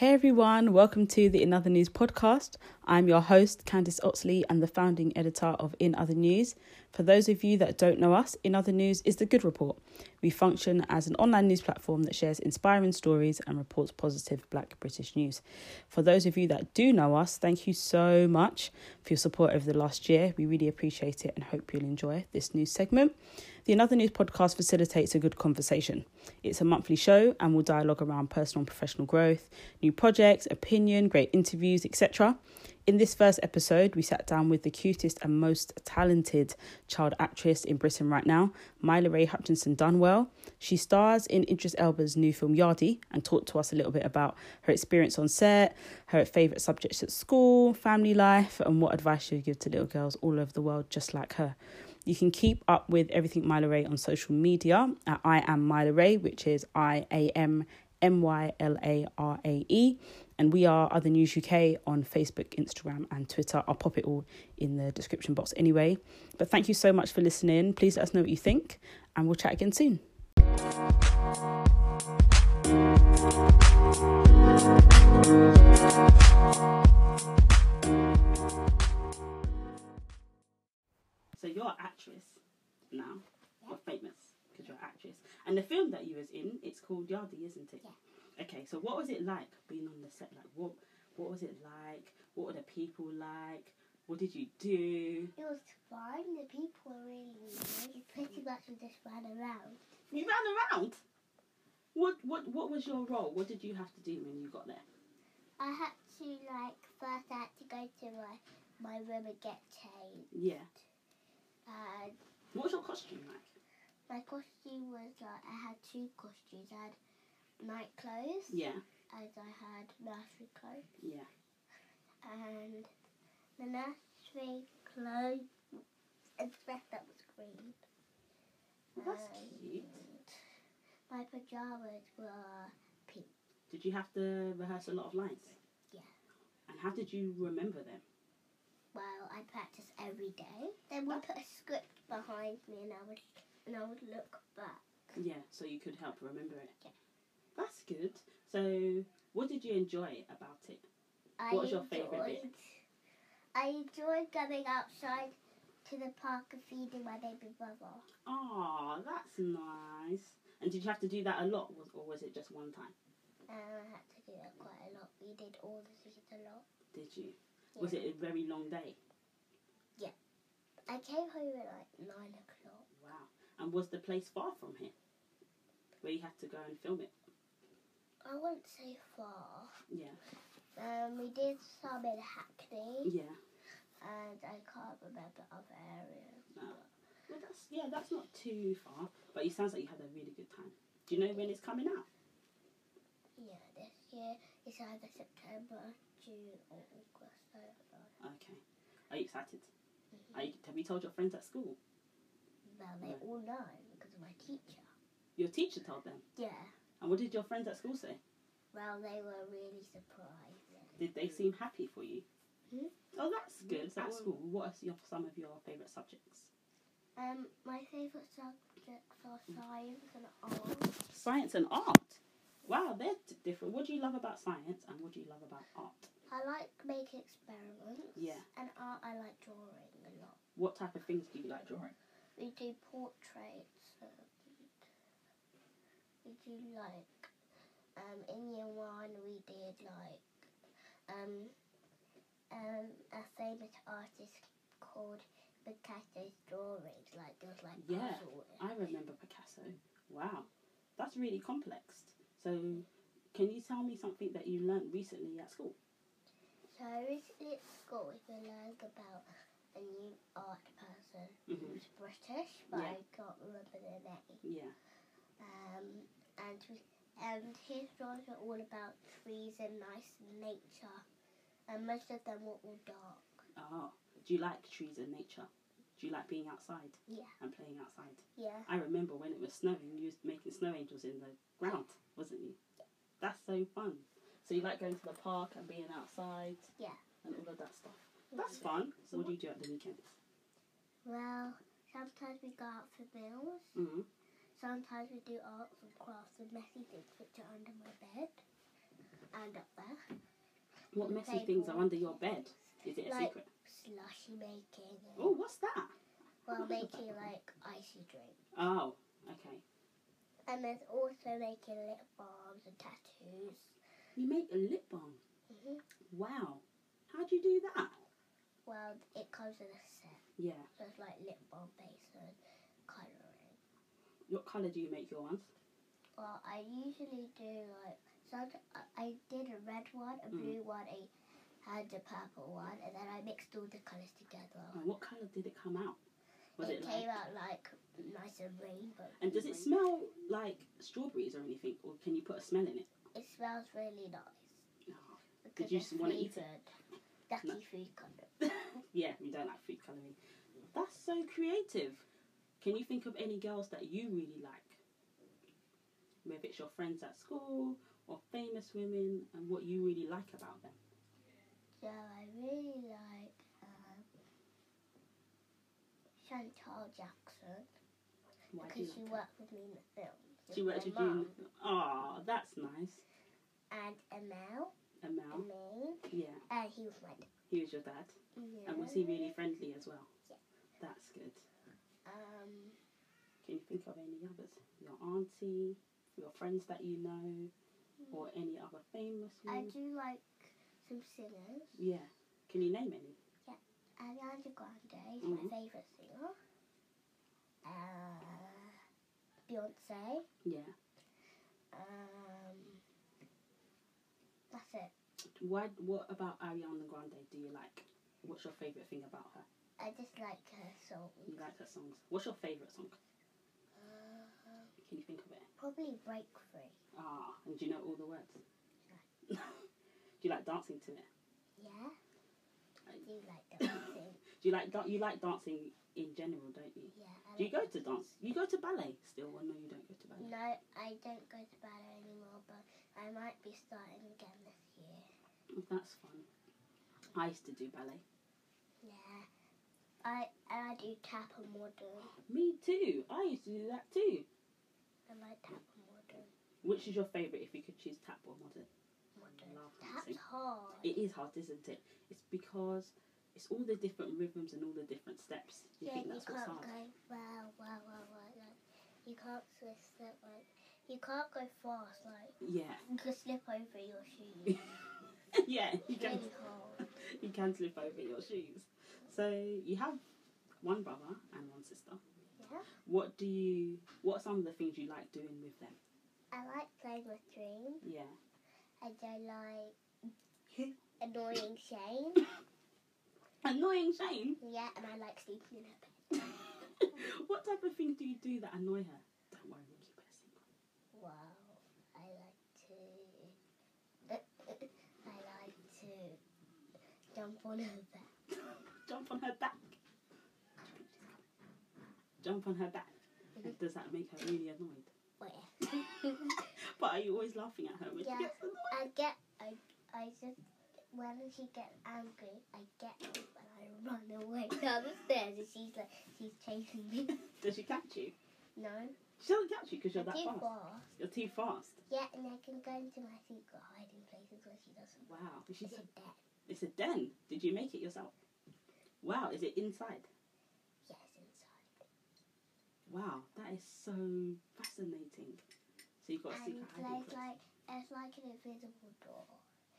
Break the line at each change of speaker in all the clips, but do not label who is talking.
everyone, welcome to the In Other News podcast. I'm your host, Candice Oxley, and the founding editor of In Other News. For those of you that don't know us, In Other News is the Good Report. We function as an online news platform that shares inspiring stories and reports positive black British news. For those of you that do know us, thank you so much for your support over the last year. We really appreciate it and hope you'll enjoy this new segment. The Another News podcast facilitates a good conversation. It's a monthly show and will dialogue around personal and professional growth, new projects, opinion, great interviews, etc. In this first episode, we sat down with the cutest and most talented child actress in Britain right now, Myla Ray Hutchinson Dunwell. She stars in Idris Elba's new film Yardi and talked to us a little bit about her experience on set, her favourite subjects at school, family life, and what advice she would give to little girls all over the world just like her. You can keep up with everything Myla Ray on social media at I am Myla Ray, which is I A M M Y L A R A E. And we are Other News UK on Facebook, Instagram, and Twitter. I'll pop it all in the description box anyway. But thank you so much for listening. Please let us know what you think, and we'll chat again soon. So you're an actress now, or famous because you're an actress. And the film that you was in, it's called Yardi, isn't it? Yeah. Okay, so what was it like being on the set? Like what what was it like? What were the people like? What did you do?
It was fun. The people were really nice. You pretty much we just ran around.
You ran around. What what what was your role? What did you have to do when you got there?
I had to like first I had to go to my my room and get changed.
Yeah.
And
What was your costume like?
my costume was like I had two costumes. I had night clothes
Yeah,
and I had nursery clothes.
yeah.
And the nursery clothes and the rest that was green.
Well, that's
And
cute.
My pajamas were
Did you have to rehearse a lot of lines?
Yeah.
And how did you remember them?
Well, I practice every day. Then we put a script behind me, and I would and I would look back.
Yeah, so you could help remember it.
Yeah.
That's good. So, what did you enjoy about it?
I
What was your favourite bit?
enjoyed- I enjoyed going outside to the park and feeding my baby brother.
Ah, that's nice. And did you have to do that a lot, was- or was it just one time?
And I had to do that quite a lot. We did all the things a lot.
Did you? Was it a very long day?
I came home at like nine o'clock.
Wow. And was the place far from here, where you had to go and film it?
I went so far.
Yeah.
Um, we did some in Hackney,
Yeah.
and I can't remember other areas.
Well, that's yeah, that's not too far. But it sounds like you had a really good time. Do you know when it's coming out?
Yeah, this year it's either September, June, or August. I don't know.
Okay. Are you excited? Are you, have you told your friends at school?
Well, they all know because of my teacher.
Your teacher told them.
Yeah.
And what did your friends at school say?
Well, they were really surprised.
Did they seem happy for you?
Hmm?
Oh, that's good.
that
At
was-
school, what are your, some of your favourite subjects?
Um, my favourite subjects are science and art.
Science and art. Wow, they're d- different. What do you love about science and what do you love about art?
I like making experiments.
Yeah.
And art, I like drawing a lot.
What type of things do you like drawing?
We do portraits. And we do like um in year one we did like um um a famous artist called Picasso's drawings. Like there was like
Yeah.
puzzles.
I remember Picasso. Wow, that's really complex. So, can you tell me something that you learned recently at school?
So recently at school we were learning about a new art person
Mhm.
who's British, but
Yeah.
I can't remember their name.
Yeah.
Um, and we, and his drawings were all about trees and nice nature, and most of them were all dark.
Oh, do you like trees and nature? Do you like being outside?
Yeah.
And playing outside.
Yeah,
I remember when it was snowing, you was making snow angels in the ground, wasn't you? That's so fun. So you like going to the park and being outside.
Yeah.
And all of that stuff. That's fun. So what do you do at the weekends?
Well, sometimes we go out for meals.
Mm-hmm.
Sometimes we do arts and crafts and messy things which are under my bed. and up there.
What messy things are under your bed? Is it a
Like-
secret?
Slushy making. and-
Oh, what's that?
Well, making like icy drink.
Oh, okay.
And there's also making lip balms and tattoos.
You make a lip balm.
hmm
Wow. How do you do that?
Well, it comes in a set.
Yeah.
So it's like lip balm base and colouring.
What colour do you make your ones?
Well, I usually do like some. I- I did a red one, a
Mm.
blue one, a and a purple one, and then I mixed all the colours together.
And what colour did it come out? Was
it,
it like?
came out like nice and rainbow.
And does it smell like strawberries or anything, or can you put a smell in it?
It smells really nice.
Oh.
Because
you
it's
just wanna eat it?
flavored. Ducky
No.
food colour.
yeah, we don't like food colouring. That's so creative. Can you think of any girls that you really like? Maybe it's your friends at school or famous women and what you really like about them.
So I really like um, Chantal Jackson
Why do you
because she
like her?
worked with me in the film.
She worked with you. Ah, that's nice.
And Emil
And Mel,
and me.
yeah,
And he was my dad.
he was your dad.
Yeah.
And was he really friendly as well?
Yeah.
That's good.
Um,
Can you think of any others? Your auntie, your friends that you know, or any other famous
Hmm. I
ones?
do like some singers.
Yeah. Can you name any?
Ariana Grande is
Mhm.
my favourite singer. Uh, Beyonce.
Yeah.
Um, that's it.
Why? What about Ariana Grande? Do you like? What's your favorite thing about her?
I just like her song.
You like her songs. What's your favorite song?
Uh,
Can you think of it?
probably Break Free.
Ah, and do you know all the words? do you like dancing to it?
Yeah. I
I-
do like dancing.
Do you like da- you like dancing in general, don't you?
yeah. I
Do you
like
go to dance? You go to ballet still, or no? You don't go to ballet.
No, I don't go to ballet anymore, but I might be starting again this year.
Oh, That's fun. I used to do ballet.
Yeah. I and I do tap and modern.
Me too. I used to do that too.
I like tap and modern.
Which is your favorite? If you could choose tap or modern,
modern.
love dancing.
Tap's hard.
It is hard, isn't it? It's because it's all the different rhythms and all the different steps. You
yeah,
think
you
that's what's
can't
hard?
go well, well, well, well. Like, you can't switch that like you can't go fast. Like
Yeah,
you could slip over your shoes.
yeah. You can
really hard.
you can slip over your shoes. So you have one brother and one sister.
Yeah.
What do you? What are some of the things you like doing with them?
I like playing with Dream.
Yeah.
I don't like annoying Shane.
Annoying Shane.
Yeah, and I like sleeping in her bed.
what type of things do you do that annoy her? Don't worry, we'll keep it a secret.
Wow. I like to. I like to jump on her bed.
Jump on her back. Jump on her back. And does that make her really annoyed?
Where?
But are you always laughing at her when
Yeah.
she gets annoyed?
I get, I, I just, when she gets angry, I get up and I run away downstairs and she's like, she's chasing me.
Does she catch you?
No,
She doesn't catch you because you're that
I'm too
fast.
fast.
You're too fast.
Yeah, and I can go into my secret hiding places where she doesn't.
Wow. Is she-
It's a dead.
It's a den. Did you make it yourself? Wow. Is it inside?
Yes, inside.
Wow. That is so fascinating. So you've got a
And
secret hiding
there's
place.
like, there's like an invisible door.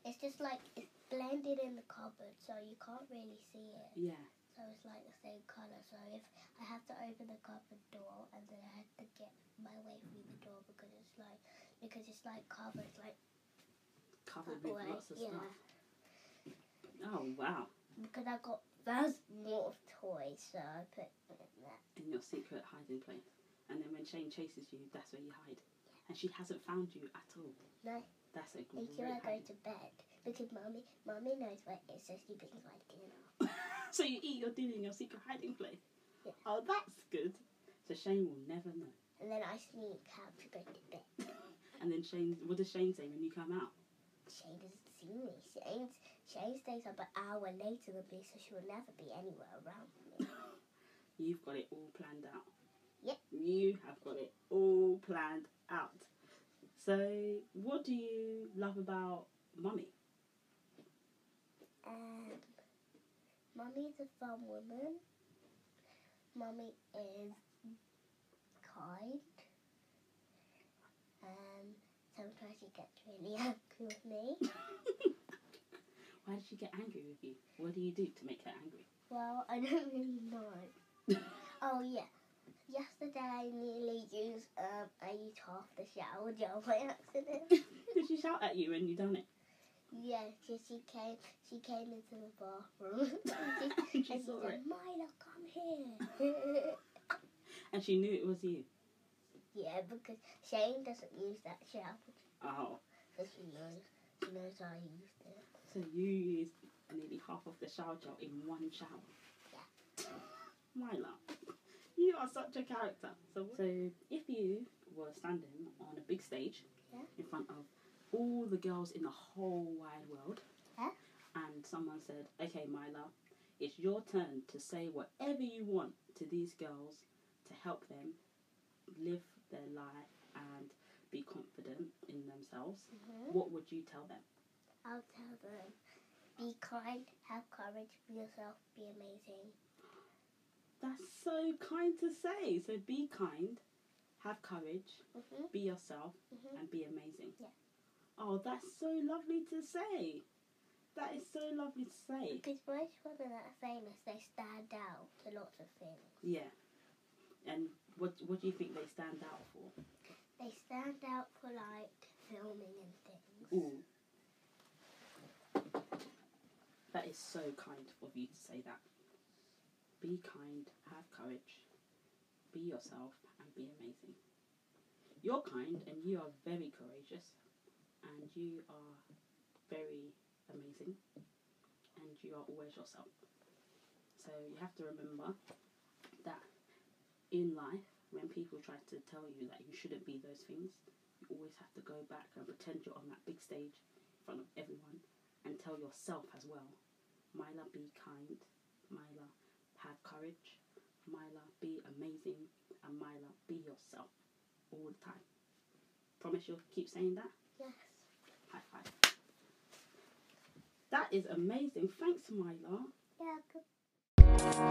It's just like, it's blended in the cupboard, so you can't really see it.
Yeah.
So it's like the same colour. So if I have to open the cupboard door and then I have to get my way through the door because it's like because it's like covered like
Covered
that
with
way.
lots of
yeah.
stuff. Oh wow.
Because I got that's more of toys, so I put them in there.
In your secret hiding place. And then when Shane chases you, that's where you hide. And she hasn't found you at all.
No.
That's a great
Until I go
hiding.
to bed. Because mummy mummy knows where it is so she brings my dinner.
So you eat your dinner in your secret hiding place.
Yeah.
Oh, that's good. So Shane will never know.
And then I sneak out to go to bed.
And then Shane, what does Shane say when you come out?
Shane doesn't see me. Shane Shane stays up an hour later than me, so she will never be anywhere around me.
You've got it all planned out.
Yep.
You have got it all planned out. So, what do you love about mummy?
Um, mummy's a fun woman. Mummy is kind. Um, sometimes she gets really angry with me.
Why did she get angry with you? What do you do to make her angry?
Well, I don't really know. oh yeah, yesterday I nearly used um, I used half the shower gel by accident.
did she shout at you when you done it?
yeah, 'cause she came she came into the bathroom. and
And
she, and
she
she
saw it.
said, Milo, come here.
And she knew it was you.
yeah, because Shane doesn't use that shower
Oh.
because she knows she knows I used it.
So you used nearly half of the shower gel in one shower. My love. You are such a character. So, so if you were standing on a big stage
Yeah.
in front of all the girls in the whole wide world
Yeah.
and someone said, Okay, Myla, it's your turn to say whatever you want to these girls to help them live their life and be confident in themselves,
Mhm.
what would you tell them?
I'll tell them, be kind, have courage, be yourself, be amazing.
That's so kind to say. So be kind, have courage,
hmm
be yourself,
Mhm.
and be amazing.
Yeah.
Oh, that's so lovely to say. That is so lovely to say.
Because most women that are famous, they stand out to lots of things.
Yeah. And what what do you think they stand out for?
They stand out for like filming and things.
Ooh. That is so kind of you to say that. Be kind, have courage, be yourself, and be amazing. You're kind and you are very courageous, and you are very amazing, and you are always yourself. So you have to remember that in life, when people try to tell you that you shouldn't be those things, you always have to go back and pretend you're on that big stage in front of everyone and tell yourself as well, Myla, be kind, Myla, have courage, Myla, be amazing, and Myla, be yourself all the time. Promise you'll keep saying that?
Yes.
High five. That is amazing. Thanks, Myla.
Yeah, good.